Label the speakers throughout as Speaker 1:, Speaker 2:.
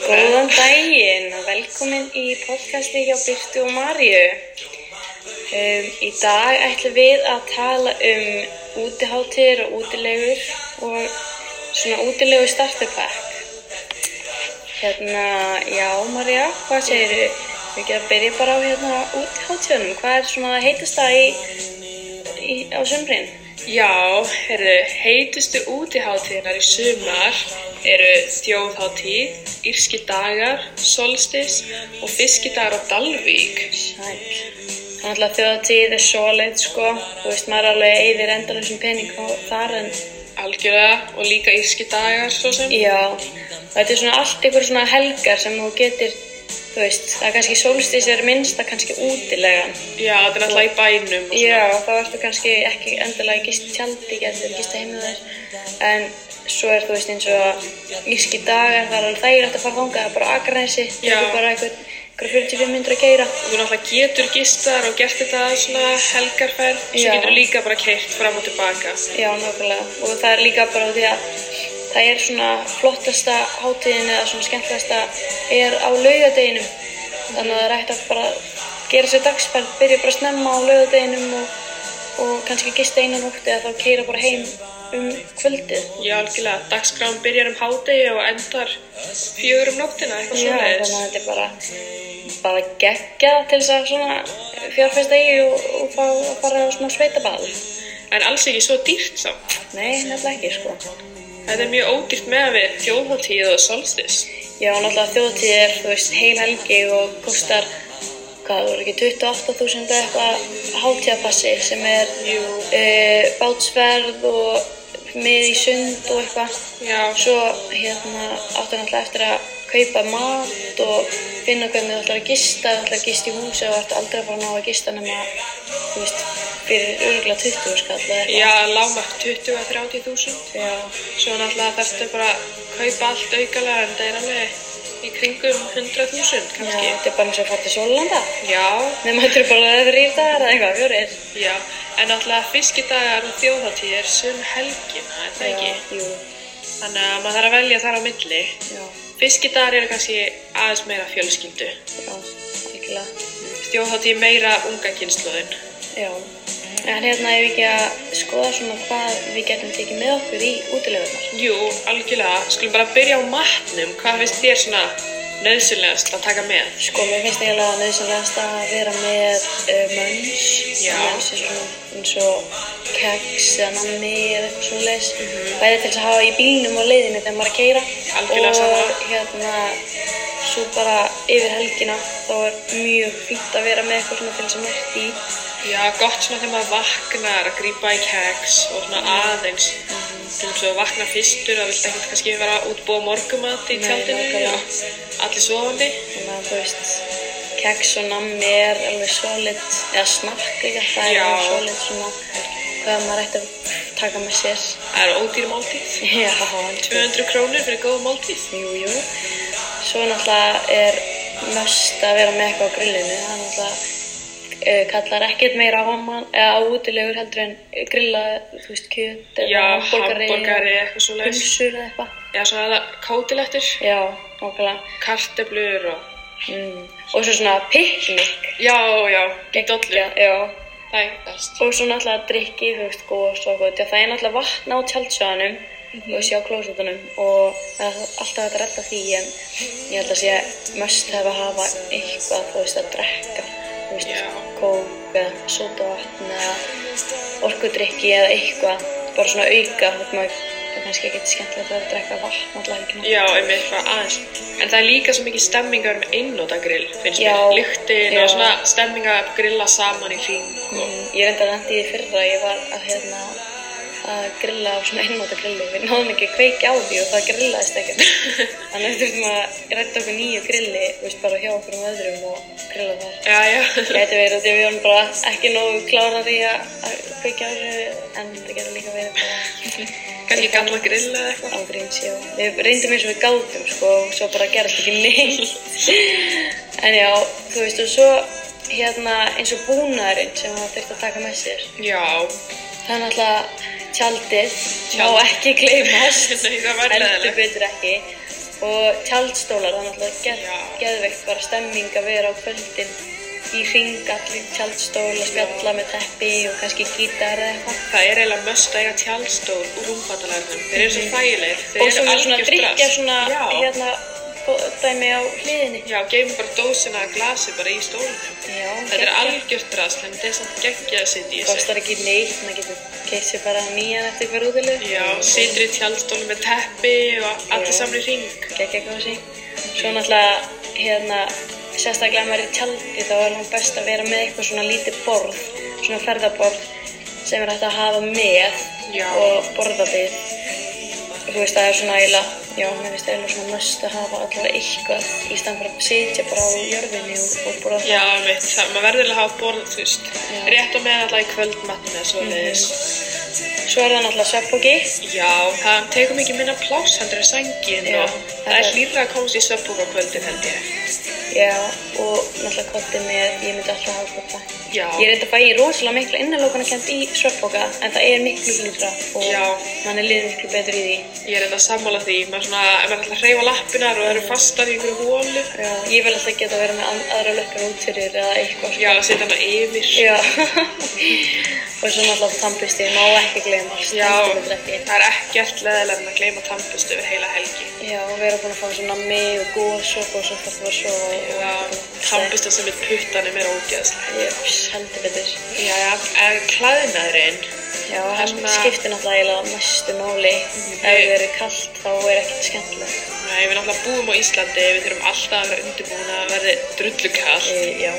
Speaker 1: Góðan daginn og velkomin í podcasti hjá Byrtu og Marju. Um, í dag ætlum við að tala um útiháttir og útilegur og svona útilegu starterpack. Hérna, já Marja, hvað segiru? Við getum að byrja bara á hérna útiháttunum. Hvað er svona það heitasta í, í, á sumrin?
Speaker 2: Já, herðu, heitustu útiháttíðinar í sumar eru þjóðháttíð, írski dagar, solstis og fiskidagar á Dalvík.
Speaker 1: Sæl. Þannig að þjóðatíð er svo leitt sko, þú veist maður alveg eyðir endalansum pening á þar en
Speaker 2: Algjörða og líka írski dagar, svo sem.
Speaker 1: já, þetta er svona allt ykkur svona helgar sem þú getur, þú veist, það er kannski sólstís er minnsta kannski útilegan.
Speaker 2: Já, þetta er náttúrulega í bænum og svona.
Speaker 1: Já, þá ertu kannski ekki endalega gist tjaldi, getur gist að heima þér, en svo er þú veist eins og að írski dagar, það er alveg þægilegt að fara þangað, það er bara aðgræðinsi,
Speaker 2: Já.
Speaker 1: tekur bara einhver, einhver 45 minnur að geira.
Speaker 2: Þú náttúrulega getur gistar og gert þetta svona helgarferð, svo
Speaker 1: Já.
Speaker 2: getur líka bara keirt fram og tilbaka.
Speaker 1: Já, nákvæmlega. Og það er líka bara því að það er svona flottasta hátíðin eða svona skemmtilegasta er á laugadeginum. Þannig að það er hægt að bara gera sér dagsferð, byrja bara snemma á laugadeginum og, og kannski gista einan ótti eða þá keira bara heim um kvöldið.
Speaker 2: Já, algjörlega, dagskrán byrjar um hádegi og endar fjögur um nóttina, eitthvað
Speaker 1: Já,
Speaker 2: svona
Speaker 1: þannig að þetta er bara bara geggja til þess að svona fjárfesta í og, og fá að fara á smá sveitaball.
Speaker 2: En alls ekki svo dýrt samt.
Speaker 1: Nei, nefnilega ekki, sko.
Speaker 2: Þetta er mjög ódýrt með að við þjóðháttíð og solstis.
Speaker 1: Já, náttúrulega þjóðtíð er, þú veist, heil helgi og kostar, hvað, voru ekki 28.000 eða eitthvað hátíðapassi sem er
Speaker 2: Jú.
Speaker 1: uh, bátsverð og mið í sund og eitthvað.
Speaker 2: Já,
Speaker 1: Svo, hérna, áttu náttúrulega eftir að kaupa mat og finna hvernig þú ætlar að gista, þú ætlar að gista í húsi og þú ert aldrei að fara að ná að gista nema, þú veist, fyrir örgulega 20 skall eða eitthvað.
Speaker 2: já lámark 20 að 30 þúsund.
Speaker 1: Já.
Speaker 2: Svo náttúrulega þarftu bara að kaupa allt aukalega en það er alveg í kringum 100 þúsund
Speaker 1: Já,
Speaker 2: kannski.
Speaker 1: þetta er bara eins og að fara til Sólanda.
Speaker 2: Já,
Speaker 1: Nefnum þetta eru bara þrír dagar eða eitthvað, fjórir.
Speaker 2: já. En náttúrulega fiskidagar og þjóðháttíð er sum helgina, er það ekki?
Speaker 1: Já, jú.
Speaker 2: Þannig að maður þarf að velja þar á milli.
Speaker 1: Já,
Speaker 2: Fiskidagar eru kannski aðeins meira fjölskyldu.
Speaker 1: já, algjörlega.
Speaker 2: Þjóðháttíð meira unga kynnslóðin.
Speaker 1: Já. En hérna ef við ekki að skoða svona hvað við getum tekið með okkur í útilegunar.
Speaker 2: Jú, algjörlega. Skulum bara byrja á matnum. Hvað finnst þér svona nöðsynlegast að taka með?
Speaker 1: Sko, mér finnst eiginlega nöðsynlegast að vera með uh, mönns.
Speaker 2: Já.
Speaker 1: Mönns er svona eins og keks eða nammi eða eitthvað svona leis. Bæði til þess að hafa í bílnum og leiðinu þegar maður er að keyra.
Speaker 2: Mhm. Algjörlega
Speaker 1: Og
Speaker 2: sama.
Speaker 1: hérna, svo bara yfir helgina þá er mjög fínt að vera með eitthvað svona til þess að mert í.
Speaker 2: Já, gott svona þegar maður vaknar að grípa í keks og svona aðeins. Sem svo vakna fyrstur að vilt ekkert kannski vera að útbúa morgumat í
Speaker 1: Nei,
Speaker 2: tjaldinu
Speaker 1: nákvæmlega.
Speaker 2: og allir svofandi.
Speaker 1: Þannig að þú veist, keks og nammi er alveg solid, eða snakk líka, það er
Speaker 2: Já.
Speaker 1: alveg solid svona hvað maður ætti að taka með sér.
Speaker 2: Það er ódýr máltíð.
Speaker 1: Já, alveg.
Speaker 2: 200 krónur fyrir góða máltíð.
Speaker 1: Jú, jú. Svo náttúrulega er mest að vera með eitthvað á grillinu, það er náttúrulega eh, kallar ekkert meira á mann, eða á útilegur heldur en grilla, þú veist, kjöt
Speaker 2: Já,
Speaker 1: eða
Speaker 2: hamborgari, eitthvað svo leiðis.
Speaker 1: pulsur eða eitthvað.
Speaker 2: Já, svona kótilettur,
Speaker 1: Já, okkarlega.
Speaker 2: karteblur og...
Speaker 1: Mm. Og svo svona piknik.
Speaker 2: Já, já, í dollu.
Speaker 1: Já, já.
Speaker 2: Það er best.
Speaker 1: Og svo náttúrulega drikki, þú veist, gos og gott. Já, það er náttúrulega vatn á tjaldsjóðanum og sjá klósetunum og það er alltaf hægt að redda því en ég held að sé mest hefur að hafa eitthvað, þú veist, að drekka. Þú veist,
Speaker 2: Já.
Speaker 1: kók eða sótavatn eða orkudrykki eða eitthvað. Bara svona auka, þú veist, maður það er kannski ekki skemmtilegt að drekka vatn náttúrulega ekki. náttúrulega.
Speaker 2: Já, einmitt bara aðeins. En það er líka svo mikið stemmingar með einnóta grill, finnst
Speaker 1: Já.
Speaker 2: mér. Lyktin
Speaker 1: Já.
Speaker 2: og svona stemmingar að grilla saman í hring. og
Speaker 1: Mm, Ég reyndi að lendi í því fyrra, ég var að hérna að grilla á svona einnóta grilli. Við náðum ekki að kveikja á því og það grillaðist ekkert. Þannig að við þurfum að rætta okkur nýju grilli, þú veist, bara hjá okkur um öðrum og grilla þar.
Speaker 2: Já, já.
Speaker 1: Gæti verið að því að við vorum bara ekki nógu klárað í að að kveikja á þessu, en það getur líka verið bara
Speaker 2: Kannski gamla grill eða eitthvað.
Speaker 1: ágríns, já. Við reyndum eins og við gátum, sko, og svo bara gerast ekki neitt. En já, þú veist, og svo hérna eins og búnaðurinn sem maður þurfti að taka með sér.
Speaker 2: Já.
Speaker 1: Það er náttúrulega tjaldið, má
Speaker 2: Tjald.
Speaker 1: ekki gleymast,
Speaker 2: Nei, það var
Speaker 1: heldur
Speaker 2: leðilegt.
Speaker 1: betur ekki. og tjaldstólar, það er náttúrulega geð,
Speaker 2: Já.
Speaker 1: geðveikt bara stemming að vera á kvöldin í ring, allir í tjaldstól og spjalla með teppi og kannski gítar eða eitthvað.
Speaker 2: Það er eiginlega möst að eiga tjálstól úr rúmfattalarnum. Þeir eru svo þægilegir. Þeir
Speaker 1: Mm. Og svo með svona
Speaker 2: algjört
Speaker 1: drikja
Speaker 2: drasl.
Speaker 1: svona,
Speaker 2: Já.
Speaker 1: hérna, bo- dæmi á hliðinni.
Speaker 2: Já, geymum bara dósina að glasi bara í stólunum.
Speaker 1: Já,
Speaker 2: Þetta er
Speaker 1: geggjað.
Speaker 2: algjört rast, en þetta er samt geggjað að sitja í þessu.
Speaker 1: Kostar ekki neitt, maður getur keitt sér bara nýjan eftir hver útilegu.
Speaker 2: Já, situr í tjálstólu með teppi og allir
Speaker 1: Já.
Speaker 2: saman í ring.
Speaker 1: Gekkja kósi. Svo náttúrulega, hérna, sérstaklega ef maður er í tjaldi þá er hann best að vera með eitthvað svona lítið borð, svona ferðaborð sem er hægt að hafa með
Speaker 2: Já.
Speaker 1: og borða við. Þú veist, það er svona eiginlega, já, mér finnst eiginlega svona mest að hafa allavega eitthvað í stand fyrir að sitja bara á jörðinni og, og borða
Speaker 2: Já, mitt, það, maður verður alveg að hafa borð, þú veist,
Speaker 1: Já.
Speaker 2: rétt og meðan alltaf í kvöldmatnum eða svo leiðis.
Speaker 1: Svo er það náttúrulega svefnbóki.
Speaker 2: Já, það tekur mikið minna pláss heldur en sængin
Speaker 1: Mhm. Já,
Speaker 2: og það
Speaker 1: þetta
Speaker 2: er
Speaker 1: er-
Speaker 2: hlýra að komast í svefnbúk á kvöldin held ég.
Speaker 1: Já, og náttúrulega kottið með, ég myndi alltaf hafa kotta.
Speaker 2: Já.
Speaker 1: Ég er eitthvað að fæ í rosalega mikla innanlókunarkend í svefnbóka, en það er miklu hlýra og
Speaker 2: Já.
Speaker 1: mann er liðið miklu betur í því.
Speaker 2: Ég er þetta sammála því, maður svona, ef maður ætlar að hreyfa lappinar og það eru fastar í einhverju hólu,
Speaker 1: Já. Ég vil alltaf geta að vera með an- aðra lökkar út fyrir eða eitthvað.
Speaker 2: já, að setja hana yfir.
Speaker 1: Já. og svo náttúrulega tannbusti, má ekki gleyma.
Speaker 2: Já,
Speaker 1: heldur betur ekki.
Speaker 2: það er ekkert leðilega en að gleyma tannbust yfir heila helgi.
Speaker 1: Já, og vera búin að fá svona mig og góðsokk og svo þarf þú að sofa. og-
Speaker 2: Já, tannbustan sem er puttanum er ógeðslega.
Speaker 1: Jöps, heldur betur.
Speaker 2: Já, já, en klæðnaðurinn,
Speaker 1: Já,
Speaker 2: er
Speaker 1: hann
Speaker 2: svona-
Speaker 1: skiptir náttúrulega eiginlega mestu máli. Ef það er kallt þá er ekkert skemmtilegt.
Speaker 2: Nei, við náttúrulega búum á Íslandi, við þurfum alltaf að vera undirbúin að verði drullu kall.
Speaker 1: E, já.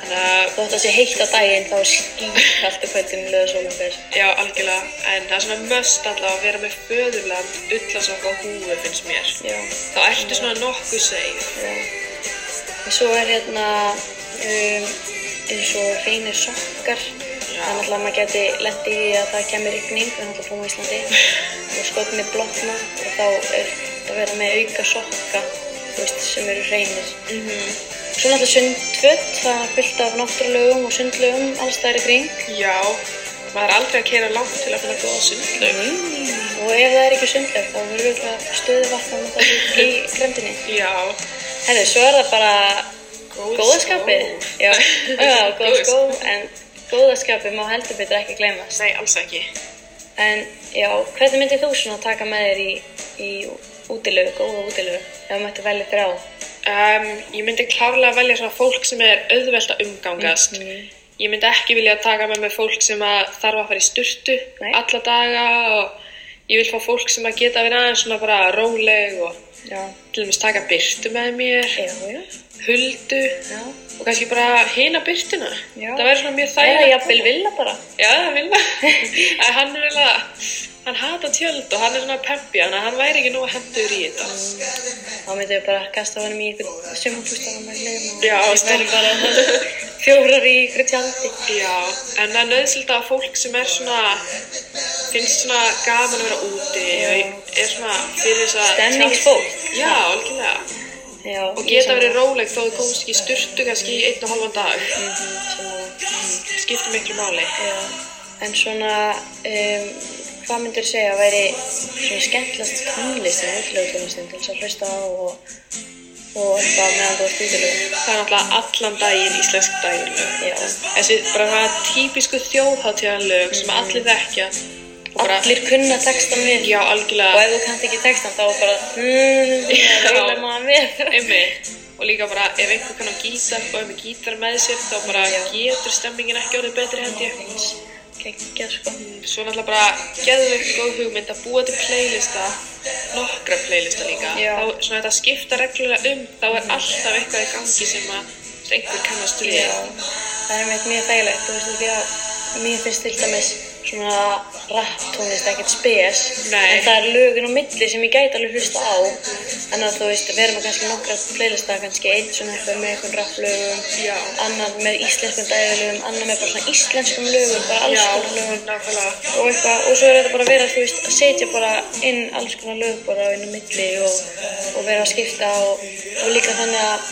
Speaker 2: Þannig að,
Speaker 1: Þótt að sé heitt á daginn þá er skýrkallt og kvöldin löða sólum fyrr.
Speaker 2: já, algjörlega, en það er svona möst alltaf að vera með föðurland, ullasokka og húfu finnst mér.
Speaker 1: Já.
Speaker 2: Þá ertu svona nokkuð safe.
Speaker 1: Já. En svo er hérna um, eins og hreinir sokkar. Það
Speaker 2: Já.
Speaker 1: er náttúrulega að maður geti lent í því að það kemur rigning, við erum náttúrulega búin á Íslandi og skotni blotna og þá er þetta að vera með auka sokka, þú veist, sem eru hreinir.
Speaker 2: Mm
Speaker 1: Mhm.
Speaker 2: -hmm.
Speaker 1: Svo er náttúrulega sundföt, það er fyllt af náttúrulegum og sundlegum alls þær í kring.
Speaker 2: Já, maður er aldrei að kera langt til að finna góða sundlaug.
Speaker 1: Mhm. Og ef það er ekki sundleg þá verður við að stöðu vatnum og það í gröndinni.
Speaker 2: Já,
Speaker 1: Herri, svo er það bara
Speaker 2: Góð
Speaker 1: góðaskapið.
Speaker 2: skó.
Speaker 1: Já, já góð
Speaker 2: Góð
Speaker 1: skó, en góðaskapið má heldur betur ekki gleymast.
Speaker 2: nei, alls ekki.
Speaker 1: En já, hvernig myndir þú svona taka með þér í, í útilegu, góða útilegu, ef þú mætti velja þrjá?
Speaker 2: Um, ég myndi klárlega velja svona fólk sem er auðvelt að umgangast.
Speaker 1: Mhm.
Speaker 2: Ég myndi ekki vilja taka með mig fólk sem að þarf að fara í sturtu
Speaker 1: Nei.
Speaker 2: alla daga og ég vil fá fólk sem að geta verið aðeins svona bara róleg og
Speaker 1: Já.
Speaker 2: til dæmis taka byrtu með mér,
Speaker 1: Já, já,
Speaker 2: huldu
Speaker 1: já.
Speaker 2: og kannski bara hina byrtuna.
Speaker 1: Já.
Speaker 2: Það væri svona mjög
Speaker 1: Eða
Speaker 2: þægilegt.
Speaker 1: jafnvel vilja bara.
Speaker 2: Já, það vil maður. En hann er eiginlega, hann hata tjöld og hann er svona peppi, þannig að hann væri ekki nú að hendur í þetta.
Speaker 1: Þá myndum við bara kasta honum í ykkur sumarbústafan með hliðum
Speaker 2: Já,
Speaker 1: og
Speaker 2: stemma.
Speaker 1: værum bara fjórar í ykkur tjaldi.
Speaker 2: Já, en það er nöðsild að fólk sem er svona, finnst svona gaman að vera úti og er svona fyrir þess að...
Speaker 1: Stemningsfólk.
Speaker 2: Já, algjörlega.
Speaker 1: Já,
Speaker 2: Og geta verið róleg þó þú komst ekki í sturtu kannski í einn og halvan dag.
Speaker 1: Mhm, rótt.
Speaker 2: Skiptir miklu máli.
Speaker 1: En svona, um, hvað myndur segja að væri svona skemmtilegast tónlistin, útlögutónlistin til þess að hlusta á og, og eitthvað meðan þú ert útlögu?
Speaker 2: Það er náttúrulega allan daginn íslensk daginn.
Speaker 1: Já.
Speaker 2: Þessi bara það típisku þjóðháttíðanlög sem allir þekkja. Og bara,
Speaker 1: Allir kunna textan við.
Speaker 2: Já,
Speaker 1: Og
Speaker 2: algjörlega.
Speaker 1: ef þú kannt ekki textan þá bara, hmm,
Speaker 2: Já.
Speaker 1: það vilja maður með.
Speaker 2: Einmitt. Og líka bara ef einhver kann á gítar og ef með gítar með sér þá bara
Speaker 1: Já.
Speaker 2: getur stemmingin ekki orðið betri held ég.
Speaker 1: Gekkja sko.
Speaker 2: Svo náttúrulega bara geðveikt góð hugmynd að búa til playlista, nokkra playlista líka.
Speaker 1: Já.
Speaker 2: Þá svona þetta skipta reglulega um, þá er alltaf eitthvað í gangi sem að sem einhver kannast við.
Speaker 1: Já, það er meitt mjög þægilegt, þú veist, því að mér finnst til dæmis svona rapptónlist ekkert spes,
Speaker 2: Nei.
Speaker 1: en það er lögun á milli sem ég gæti alveg hlusta á, en að þú veist, við erum með kannski nokkra playlista, kannski einn svona eitthvað með einhvern rapplögum,
Speaker 2: Já.
Speaker 1: annar með íslenskum dæðilögum, annar með bara svona íslenskum lögum, bara alls konar lögum
Speaker 2: nákvæmlega.
Speaker 1: og eitthvað, og svo er þetta bara að vera, þú veist, að setja bara inn alls konar lög bara inn á milli og, og vera að skipta og, og líka þannig að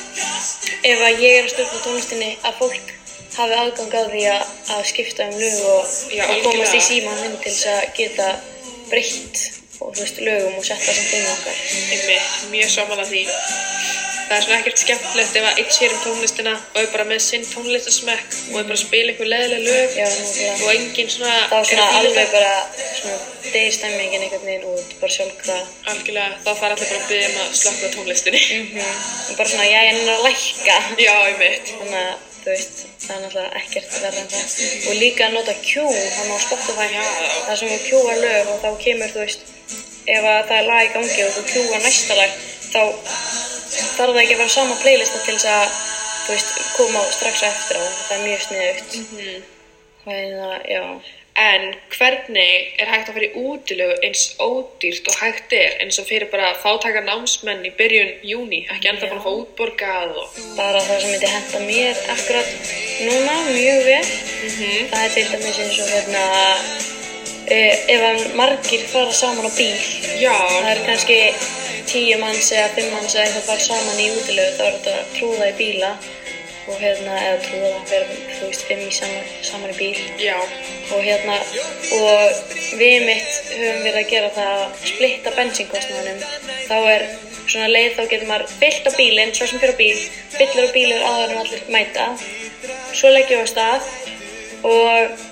Speaker 1: ef að ég er að stjórna tónlistinni að fólk hafi aðgang að því að, að skipta um lög og,
Speaker 2: Já,
Speaker 1: og komast í
Speaker 2: algjörlega.
Speaker 1: síman minn til þess að geta breytt og þú veist, lögum og setja sem þeim okkar.
Speaker 2: einmitt, mjög saman að því það er svona ekkert skemmtilegt ef að einn sér um tónlistina og er bara með sinn tónlistasmekk og er bara að spila einhver leðileg lög
Speaker 1: Já, nákvæmlega.
Speaker 2: og enginn svona
Speaker 1: Það var svona
Speaker 2: er að fíla
Speaker 1: alveg
Speaker 2: það.
Speaker 1: bara, svona, deyr stemmingin einhvern veginn út, bara sjálfkraða.
Speaker 2: algjörlega, þá fara allir bara að byggja um að slökka á tónlistinni
Speaker 1: Og bara svona, já, ég er að lækka.
Speaker 2: já, einmitt
Speaker 1: Þannig að, þú veist, það er náttúrulega ekkert verða en það. Og líka að nota Q, hann á Spotify,
Speaker 2: Já.
Speaker 1: það sem þú Q-ar lög og þá kemur, þú veist, ef að það er lag í gangi og þú Q-ar næsta lag, þá þarf það ekki að vera sama playlista til þess að, þú veist, koma á strax á eftir á. Það er mjög sniðugt. Mm -hmm. Þannig að, já,
Speaker 2: en hvernig er hægt að fara í útilegu eins ódýrt og hægt er eins og fyrir bara fátæka námsmenn í byrjun júni, ekki enda bara að fá útborgað og
Speaker 1: bara það sem myndi henda mér akkurat núna mjög vel. Það er til dæmis eins og hérna, eh, ef að margir fara saman á bíl,
Speaker 2: já,
Speaker 1: Það eru kannski tíu manns eða fimm manns eða eitthvað bara saman í útilegu þá er þetta að trúða í bíla og hérna, eða trúða að vera, þú veist, fimm í saman, saman í bíl
Speaker 2: já,
Speaker 1: og hérna, og við mitt höfum verið að gera það að splitta bensinkostnaðanum þá er svona leið þá getur maður fyllt á bílinn, svo sem fyrir á bíl fyllur á bílur áður en allir mæta svo leggjum við á stað og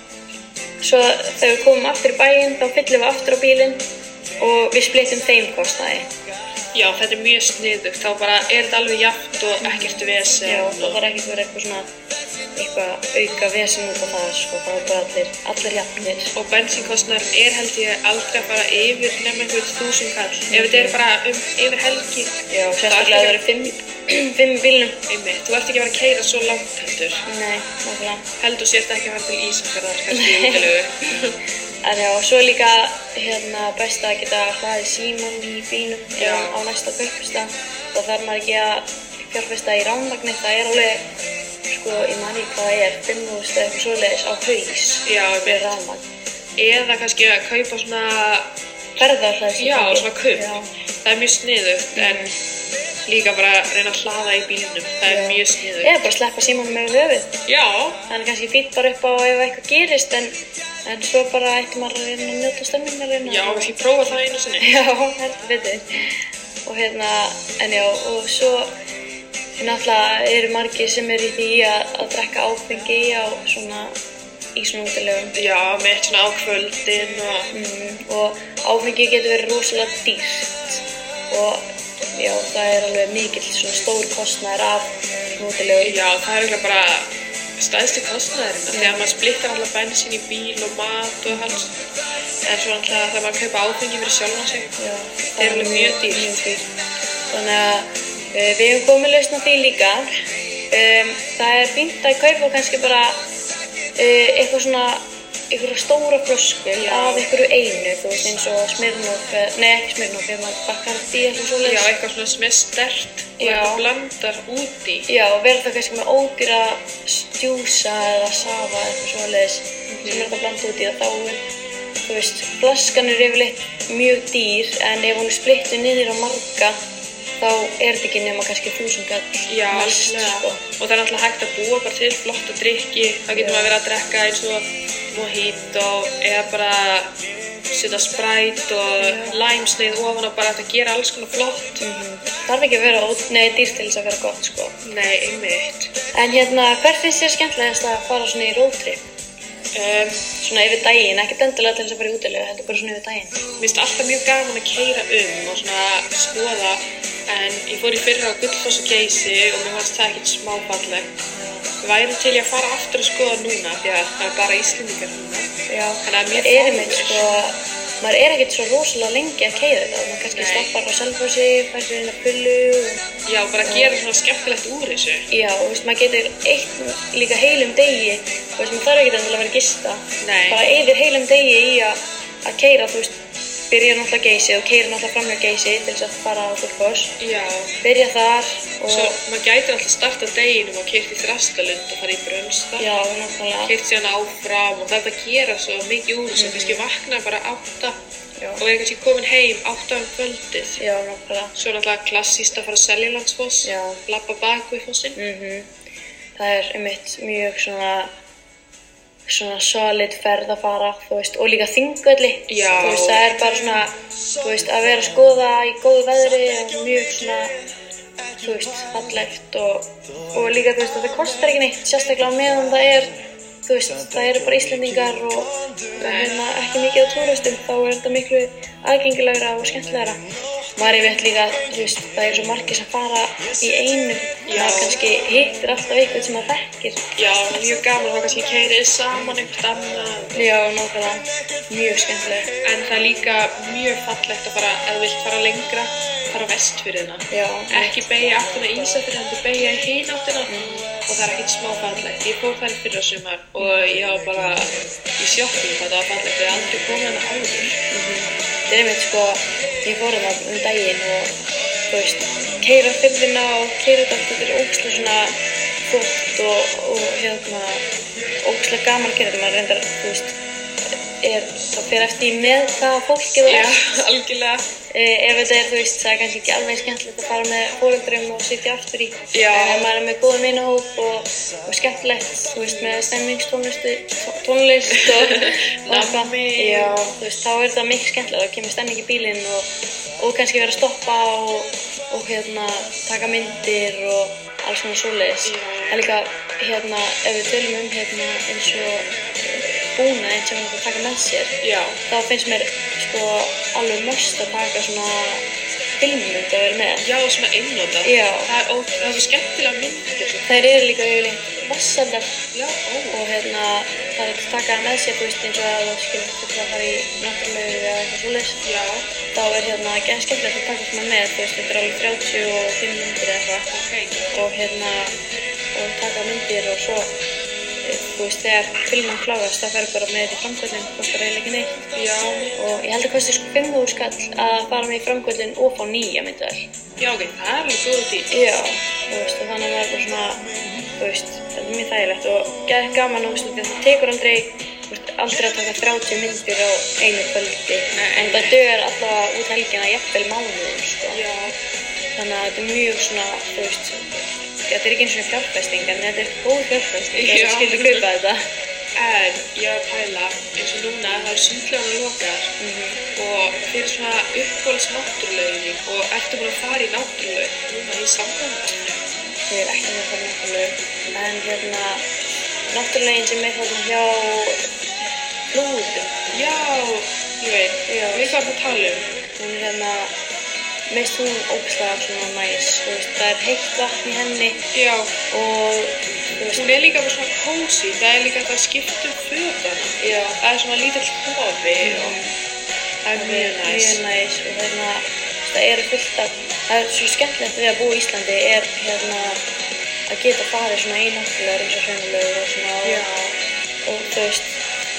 Speaker 1: svo þegar við komum aftur í bæinn þá fyllum við aftur á bílinn og við splittum þeim kostnaði
Speaker 2: já, þetta er mjög sniðugt þá bara er þetta alveg jafnt og ekkert vesen
Speaker 1: Já, það þarf ekkert verið eitthvað svona eitthvað auka vesen út á það sko, það er bara allir, allir jafnir
Speaker 2: og bensinkostnarinn er held ég aldrei að fara yfir nefnum einhvern þúsund kall ef þetta er bara um yfir helgi
Speaker 1: Já, sérstaklega það eru fimm, fimm í bílnum
Speaker 2: einmitt, þú ert ekki að vera að keira svo langt heldur
Speaker 1: Nei, nákvæmlega
Speaker 2: heldur sért ekki að fara til Ísafjörðar kannski í útilegu
Speaker 1: En já, svo er líka hérna best að geta hlaðið síman í bílnum
Speaker 2: Já.
Speaker 1: eða á næsta kaupista þá þarf maður ekki að fjárfesta í ránvagni það er alveg, sko, ég man ekki hvað það er 5.000 eða eitthvað svoleiðis á haus
Speaker 2: Já,
Speaker 1: við
Speaker 2: einmitt.
Speaker 1: ránvagn
Speaker 2: eða kannski að kaupa svona
Speaker 1: Ferðarhlaðis
Speaker 2: já, svona kaup
Speaker 1: Já,
Speaker 2: það er mjög sniðugt en líka bara að reyna að hlaða í bílnum það er
Speaker 1: Já.
Speaker 2: mjög sniðugt
Speaker 1: eða bara sleppa símanum yfir höfuð
Speaker 2: já,
Speaker 1: Þannig kannski fýtt bara upp á ef eitthvað gerist en, en svo bara ætti maður að reyna að njóta stemmingarinn.
Speaker 2: já, kannski prófa það einu sinni
Speaker 1: Já, heldur betur. Og hérna, en já, og svo náttúrulega eru margir sem eru í því að, að drekka áfengi á svona, í svona útilegum.
Speaker 2: já, með svona á kvöldin og
Speaker 1: Mm, og áfengi getur verið rosalega dýrt og já, það er alveg mikill svona stór kostnæður af svona útilegum.
Speaker 2: Já, það er eiginlega bara stæðstu kostnæðurinn mm. þegar maður splittar alltaf bensín í bíl og mat og alls en svo alltaf þegar maður kaupa áfengi fyrir sjálfan sig
Speaker 1: Já,
Speaker 2: Það er alveg mjög dýrt.
Speaker 1: mjög dýrt. Þannig að uh, við hefum komið lausn á því líka. Um, það er fínt að kaupa kannski bara uh, eitthvað svona einhverja stóra flösku
Speaker 2: Já.
Speaker 1: af einhverju einu, þú veist eins og Smirnoff, eh, nei ekki Smirnoff, ef maður bakkar því eitthvað svo
Speaker 2: Já, eitthvað svona sem er stert og
Speaker 1: Já.
Speaker 2: eitthvað blandar úti
Speaker 1: Já, og verður það kannski með ódýra stjúsa eða safa eitthvað svoleiðis sem er þetta bland út í það þá er, þú veist, flaskan er yfirleitt mjög dýr en ef hún er splittu niður á marga þá er þetta ekki nema kannski þúsungall
Speaker 2: Já, alveg
Speaker 1: sko.
Speaker 2: og það er alltaf hægt að búa bara til flott og drikki þá getur
Speaker 1: Já.
Speaker 2: maður verið að drekka eins og mojito eða bara setja spræt og læmsneið ofan og bara þetta gera alls konar flott
Speaker 1: Þarf ekki að vera ód- nei, dýr til þess að vera gott, sko.
Speaker 2: Nei, einmitt
Speaker 1: En hérna, hvert finnst þér skemmtilegast að fara svona í roadtrip?
Speaker 2: um,
Speaker 1: Svona yfir daginn, ekkert endilega til þess að fara í útilega, heldur bara svona yfir daginn.
Speaker 2: Mér finnst alltaf mjög gaman að keira um og svona skoða en ég fór í fyrra á Gullfoss og Geysi og mér fannst það ekkert smá fallegt. Ég væri til ég að fara aftur að skoða núna því að það er bara Íslendingar núna.
Speaker 1: Já,
Speaker 2: Þannig að mér
Speaker 1: maður er
Speaker 2: fáir.
Speaker 1: einmitt sko, maður er ekkert svo rosalega lengi að keiða þetta, maður kannski
Speaker 2: Nei.
Speaker 1: stoppar á selfhósi, fær sér inn að pullu og...
Speaker 2: Já, bara að gera svona skemmtilegt úr þessu.
Speaker 1: Já, og veist, maður getur eitt líka heilum degi, þú veist, maður þarf ekkert endilega að vera að gista.
Speaker 2: Nei.
Speaker 1: Bara eyðir heilum degi í að, að keira, þú veist, byrja náttúrulega geysið og keira náttúrulega framhjá geysið til þess að fara á Gullfoss.
Speaker 2: Já.
Speaker 1: Byrja þar og...
Speaker 2: Svo maður gætir alltaf starta deginum og keirt í Þrastalund og fara í Brönsta.
Speaker 1: Já, náttúrulega.
Speaker 2: Keirt síðan áfram og það er að gera svo mikið úr þessu. Kannski vakna bara átta
Speaker 1: Mhm. Já.
Speaker 2: og er kannski komin heim átta um kvöldið.
Speaker 1: Já, náttúrulega.
Speaker 2: Svo er alltaf klassíst að fara að selja landsfoss,
Speaker 1: Já. Mm.
Speaker 2: lappa baku í fossin.
Speaker 1: Mhm. Það er einmitt mjög svona svona solid ferð að fara, þú veist, og líka þingvelli,
Speaker 2: Já.
Speaker 1: þú veist, það er bara svona, þú veist, að vera að skoða í góðu veðri og mjög svona, þú veist, fallegt og, og líka, þú veist, að það kostar ekki neitt, sérstaklega á meðan það er, þú veist, það eru bara Íslendingar og, og hérna ekki mikið á túristum, þá er þetta miklu aðgengilegra og skemmtilegra. Maður veit líka, þú veist, það eru svo margir sem fara í einu,
Speaker 2: Já.
Speaker 1: maður kannski hittir alltaf eitthvað sem maður þekkir.
Speaker 2: Já, mjög gaman þá kannski keirið saman einhvern annan.
Speaker 1: Já, nákvæmlega. Mjög skemmtileg.
Speaker 2: En það er líka mjög fallegt að fara, ef þú vilt fara lengra, fara vestfyrðina.
Speaker 1: Já.
Speaker 2: Ekki beigja aftina í Ísafjörðin, heldur beigja í hinn áttina. Og það er ekkert smá fallegt. Ég fór þær fyrra sumar og ég var bara í sjokki hvað það var fallegt. Ég hef aldrei komið hana áður.
Speaker 1: Það er einmitt sko, ég fór hérna um daginn og, þú veist, keira fyrðina og keira þetta allt, þetta er ógslag svona flott og, og hérna, ógslag gaman að gera þetta, maður reyndar, þú veist, er, það fer eftir í með hvaða fólkið það
Speaker 2: Já,
Speaker 1: er.
Speaker 2: algjörlega.
Speaker 1: Eh, ef þetta er, þú veist, það er kannski ekki alveg skemmtilegt að fara með fóröldrum og sitja aftur í.
Speaker 2: Já.
Speaker 1: Eh, En maður er með góðum vinahóp og, og skemmtilegt, þú veist, með stemmingstónlistu, tó- tónlist og, og eitthvað.
Speaker 2: Nammi.
Speaker 1: Já, þú veist, þá er þetta mikið skemmtilegt, þá kemur stemming í bílinn og, og kannski vera að stoppa og, og hérna, taka myndir og alls svona svoleiðis.
Speaker 2: Já.
Speaker 1: En líka, hérna, ef við tölum um, hérna, eins og eh, búna, eins og hann er að taka með sér
Speaker 2: Já,
Speaker 1: þá finnst mér sko alveg mörst að taka svona filmmynd að vera með.
Speaker 2: já, svona einnóta.
Speaker 1: Já.
Speaker 2: Það er, ó, það er svo skemmtilega myndir.
Speaker 1: Þær eru líka yfirleitt vassaldar
Speaker 2: Já, ó.
Speaker 1: og hérna það er ekki taka það með sér, þú veist, eins og að þú skilur þetta að fara í náttúrulega eða eitthvað svoleiðis.
Speaker 2: Já,
Speaker 1: Þá er hérna ekki skemmtilegt að taka svona með, þú veist, þetta er alveg 35 myndir eða eitthvað.
Speaker 2: ok.
Speaker 1: og hérna og taka myndir og svo eh, þú veist þegar filman klárast það fer bara með þetta í framkvöldin kostar eiginlega ekki neitt
Speaker 2: Já.
Speaker 1: og ég held að kosti sko 5.000 skall að fara með í framkvöldin og fá nýja myndavel
Speaker 2: Já, ok, það er alveg góð tíl.
Speaker 1: já þú veist og þannig að maður bara svona þú veist þetta er mjög þægilegt og gæð gaman og þú veist því að það tekur aldrei þú veist, aldrei að taka 30 myndir á einu kvöldi
Speaker 2: Nei.
Speaker 1: en það dögur allavega út helgina jafnvel mánuðum sko
Speaker 2: Já,
Speaker 1: Þannig að þetta er mjög svona, þú veist, þetta er ekki eins og fjárfæsting, en þetta er góð fjárfæsting,
Speaker 2: Já.
Speaker 1: ég skildi kaupa þetta.
Speaker 2: en ég var að pæla eins og núna það er sundljóðan lokar
Speaker 1: Mhm.
Speaker 2: og þeir eru svona uppbólis náttúrulegin og ertu búin að fara í náttúruleg núna í samkvæmdum?
Speaker 1: Ég er ekki með það náttúrulega, en hérna, náttúrulegin sem er þarna hjá flúðum,
Speaker 2: Já, ég veit,
Speaker 1: Já.
Speaker 2: við hvað það tala um.
Speaker 1: hún er hérna, mest hún ógslag svona næs, þú veist, það er heitt vatn í henni
Speaker 2: Já,
Speaker 1: og, þú veist,
Speaker 2: hún er líka bara svona kósi, það er líka þetta skiptum fötana.
Speaker 1: já,
Speaker 2: um
Speaker 1: Mhm.
Speaker 2: Það er svona lítill kofi og það er mjög næs.
Speaker 1: mjög næs og hérna, það eru fullt af, það er svo skemmtilegt við að búa í Íslandi er hérna að geta farið svona í náttúrulega eins og hraunulegu og svona
Speaker 2: Já,
Speaker 1: og, og þú veist,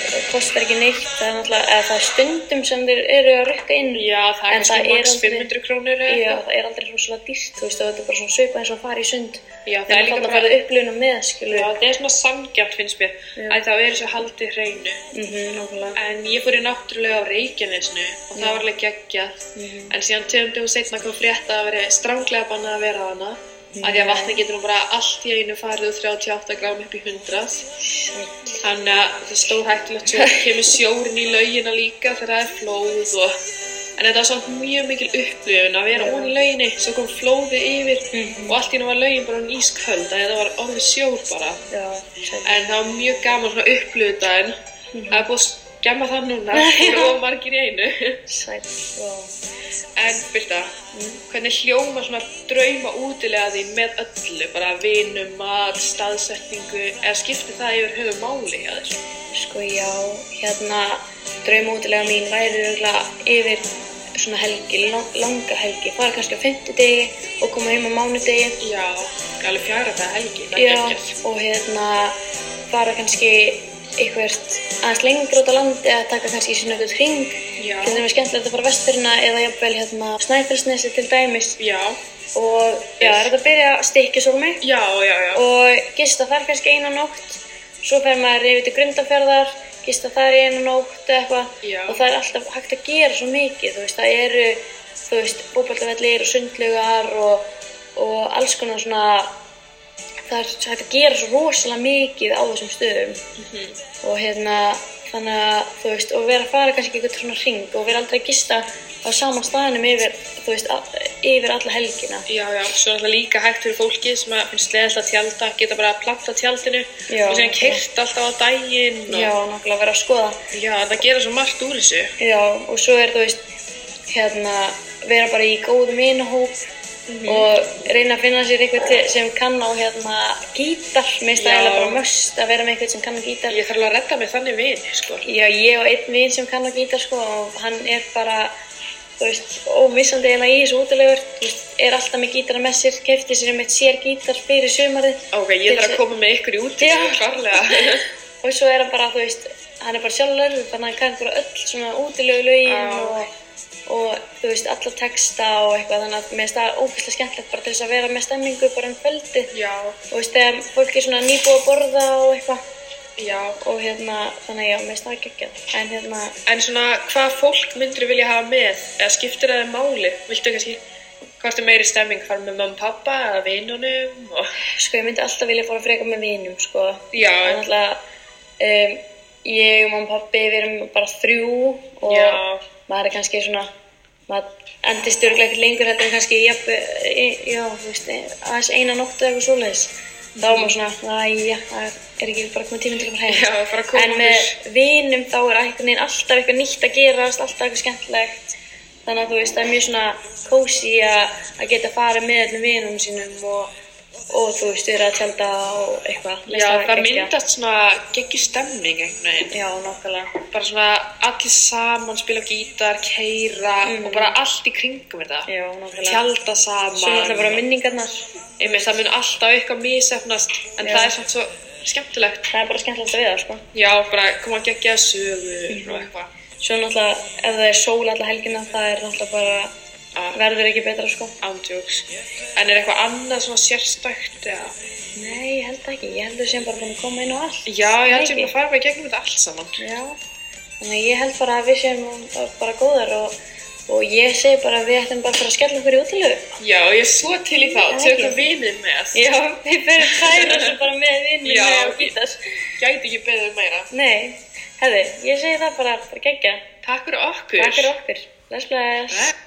Speaker 1: það kostar ekki neitt, það er náttúrulega, eða það er stundum sem þeir eru að rukka inn
Speaker 2: já, það er
Speaker 1: En það
Speaker 2: kannski
Speaker 1: er
Speaker 2: max
Speaker 1: aldrei-
Speaker 2: 500 krónur eða
Speaker 1: Já,
Speaker 2: eitthvað.
Speaker 1: það er aldrei svona svona dýrt, þú veist, og þetta er bara svona svipað eins og að fara í sund
Speaker 2: Já, það
Speaker 1: Nema
Speaker 2: er líka
Speaker 1: þarna
Speaker 2: bara-
Speaker 1: færðu upplifuna með, skilur
Speaker 2: Já, það er svona sangjart finnst mér,
Speaker 1: Já.
Speaker 2: að þá er þessu haldið hreinu.
Speaker 1: Mhm, nákvæmlega
Speaker 2: En ég fór í náttúrulega á Reykjanesnu og það var alveg geggjað.
Speaker 1: Mhm.
Speaker 2: En síðan tegum dögum setna kom frétt að það veri stranglega bannað að vera á hana. Af því að
Speaker 1: Nei.
Speaker 2: vatni getur nú bara allt í einu farið úr 38 grám upp í 100. Þannig að það er stórhættulegt svo kemur sjórinn í laugina líka þegar það er flóð og... En þetta var samt mjög mikil upplifun að vera ón í lauginni, svo kom flóði yfir
Speaker 1: Mhm.
Speaker 2: og allt í hennu var laugin bara um ísköld, að þetta var orðið sjór bara.
Speaker 1: Já, sæt
Speaker 2: En það var mjög gaman svona upplöðu en Það er búið að skemma það núna, það eru of margir í einu.
Speaker 1: Sæt, já
Speaker 2: En Birta, hvernig hljóma svona drauma útilega þín með öllu? Bara vinum, mat, staðsetningu, eða skiptir það yfir höfu máli hjá þér?
Speaker 1: Sko já, hérna draumótilega mín væri örugglega yfir svona helgi, lang, langa helgi, fara kannski á fimmtudegi og koma heim á mánudegi.
Speaker 2: Já, alveg fjara það helgi, það er
Speaker 1: Já,
Speaker 2: geggjast.
Speaker 1: og hérna fara kannski eitthvert aðeins lengur út á landi eða taka kannski svona eitthvað hring.
Speaker 2: Já.
Speaker 1: Þetta er skemmtilegt að fara vestfyrina eða jafnvel hérna Snæfellsnesi til dæmis.
Speaker 2: Já,
Speaker 1: Og já, það er þetta að byrja að stykja sólmi
Speaker 2: já, já, já.
Speaker 1: og gista þar kannski eina nótt svo fer maður yfir til grundaferðar gista þar í eina nótt eða
Speaker 2: Já.
Speaker 1: eitthvað og það er alltaf hægt að gera svo mikið þú veist, það eru, þú veist, bóbaldavellir og sundlugar og, og alls konar svona það er hægt að gera svo rosalega mikið á þessum stöðum og hérna þannig að þú veist og vera að fara kannski eitthvað svona ring og vera aldrei að gista á sama staðinum yfir þú veist a- yfir alla helgina
Speaker 2: Já, já, svo er alltaf líka hægt fyrir fólki sem að finnst leðilega að tjálta, geta bara að planta tjaldinu
Speaker 1: Já.
Speaker 2: og síðan kert alltaf á daginn og
Speaker 1: já nákvæmlega vera að skoða
Speaker 2: já, það gera svo margt úr þessu.
Speaker 1: já og svo er þú veist hérna vera bara í góðum vinahóp og reyna að finna sér eitthvað til, sem kann á hérna gítar, mér finnst
Speaker 2: Já.
Speaker 1: það eiginlega bara möst að vera með eitthvað sem kann á gítar
Speaker 2: Ég þarf alveg að redda mig þannig vini, sko.
Speaker 1: Já, ég og einn vinn sem kann á gítar sko og hann er bara, þú veist, ómissandi eiginlega í þessu útilegur, þú veist, er alltaf með gítara með sér, kefti sér um eitt sér gítar fyrir sumarið.
Speaker 2: Ok, ég þarf
Speaker 1: Til-
Speaker 2: að koma með ykkur í úti,
Speaker 1: Já.
Speaker 2: klarlega.
Speaker 1: Og svo er hann bara, þú veist, hann er bara sjálfur, þannig að hann kann bara öll svona útilegu lögin
Speaker 2: Já.
Speaker 1: og, og, þú veist, alla texta og eitthvað, þannig að mér finnst það ógeðslega skemmtilegt bara til þess að vera með stemmingu bara um kvöldið.
Speaker 2: já,
Speaker 1: Og þú veist, þegar fólk er svona nýbúið að borða og eitthvað
Speaker 2: já.
Speaker 1: og hérna, þannig að já, mér finnst það geggjað. En hérna,
Speaker 2: En svona, hvað fólk myndur vilja hafa með? Eða skiptir það þér máli? Viltu kannski, hvort er meiri stemming? Fara með mamma og pappa eða vinunum? Og...
Speaker 1: Sko, ég myndi alltaf vilja fara frekar með vinum, sko.
Speaker 2: Já.
Speaker 1: Það er alltaf, um, ég og mamma og pappi, við erum bara þrjú og
Speaker 2: Já.
Speaker 1: maður er kannski svona, maður endist örgulega ekkert lengur heldur en kannski, jafn, e, já, þú veist, e- aðeins eina nóttu eða eitthvað svoleiðis. Þá er maður svona, æja, það er ekki bara komið tíminn til að fara heim.
Speaker 2: Já, bara koma
Speaker 1: En með vinum þá er einhvern veginn alltaf eitthvað nýtt að gerast, alltaf eitthvað skemmtilegt. Þannig að þú veist, það er mjög svona kósi að geta farið með öllum vinunum sínum og, og þú veist, vera að tjálta og eitthvað. Mér
Speaker 2: Já,
Speaker 1: finnst
Speaker 2: það
Speaker 1: geggjað.
Speaker 2: myndast svona geggjur stemming einhvern veginn.
Speaker 1: Já, nokkulega.
Speaker 2: Bara svona allir saman spila gítar, keira og bara allt í kringum þetta.
Speaker 1: Já, nokkulega.
Speaker 2: Tjálta saman.
Speaker 1: Svo náttúrulega bara minningarnar.
Speaker 2: Einmitt, það mun alltaf eitthvað misefnast en
Speaker 1: Já.
Speaker 2: það er samt svo skemmtilegt.
Speaker 1: Það er bara skemmtilegt að við það, sko.
Speaker 2: Já, bara koma að gegja sögur og eitthvað.
Speaker 1: Svo náttúrulega, ef það er sól alla helgina, það er náttúrulega bara,
Speaker 2: Ah.
Speaker 1: verður ekki betra, sko.
Speaker 2: Ándjóks. En er eitthvað annað svona sérstækt eða?
Speaker 1: Nei, ég held það ekki. Ég held þau sem bara búin að koma inn á allt.
Speaker 2: Já, ég held sem
Speaker 1: Ekki.
Speaker 2: að fara bara í gegnum þetta allt saman.
Speaker 1: Já, þannig að ég held bara að við séum bara góðar og, og ég segi bara að við ættum bara að fara að skella okkur í útilegu.
Speaker 2: Já, ég er svo til í þá.
Speaker 1: Já,
Speaker 2: Tökum
Speaker 1: ekki.
Speaker 2: vinið með.
Speaker 1: Já, við fyrir tæra svo bara með vinninu
Speaker 2: Já,
Speaker 1: og gítar.
Speaker 2: Gæti ekki beðið um meira.
Speaker 1: Nei, hefði, ég segi það bara, bara geggja.
Speaker 2: Takk fyrir okkur.
Speaker 1: Takk fyrir okkur. Bless, bless.
Speaker 2: Bless.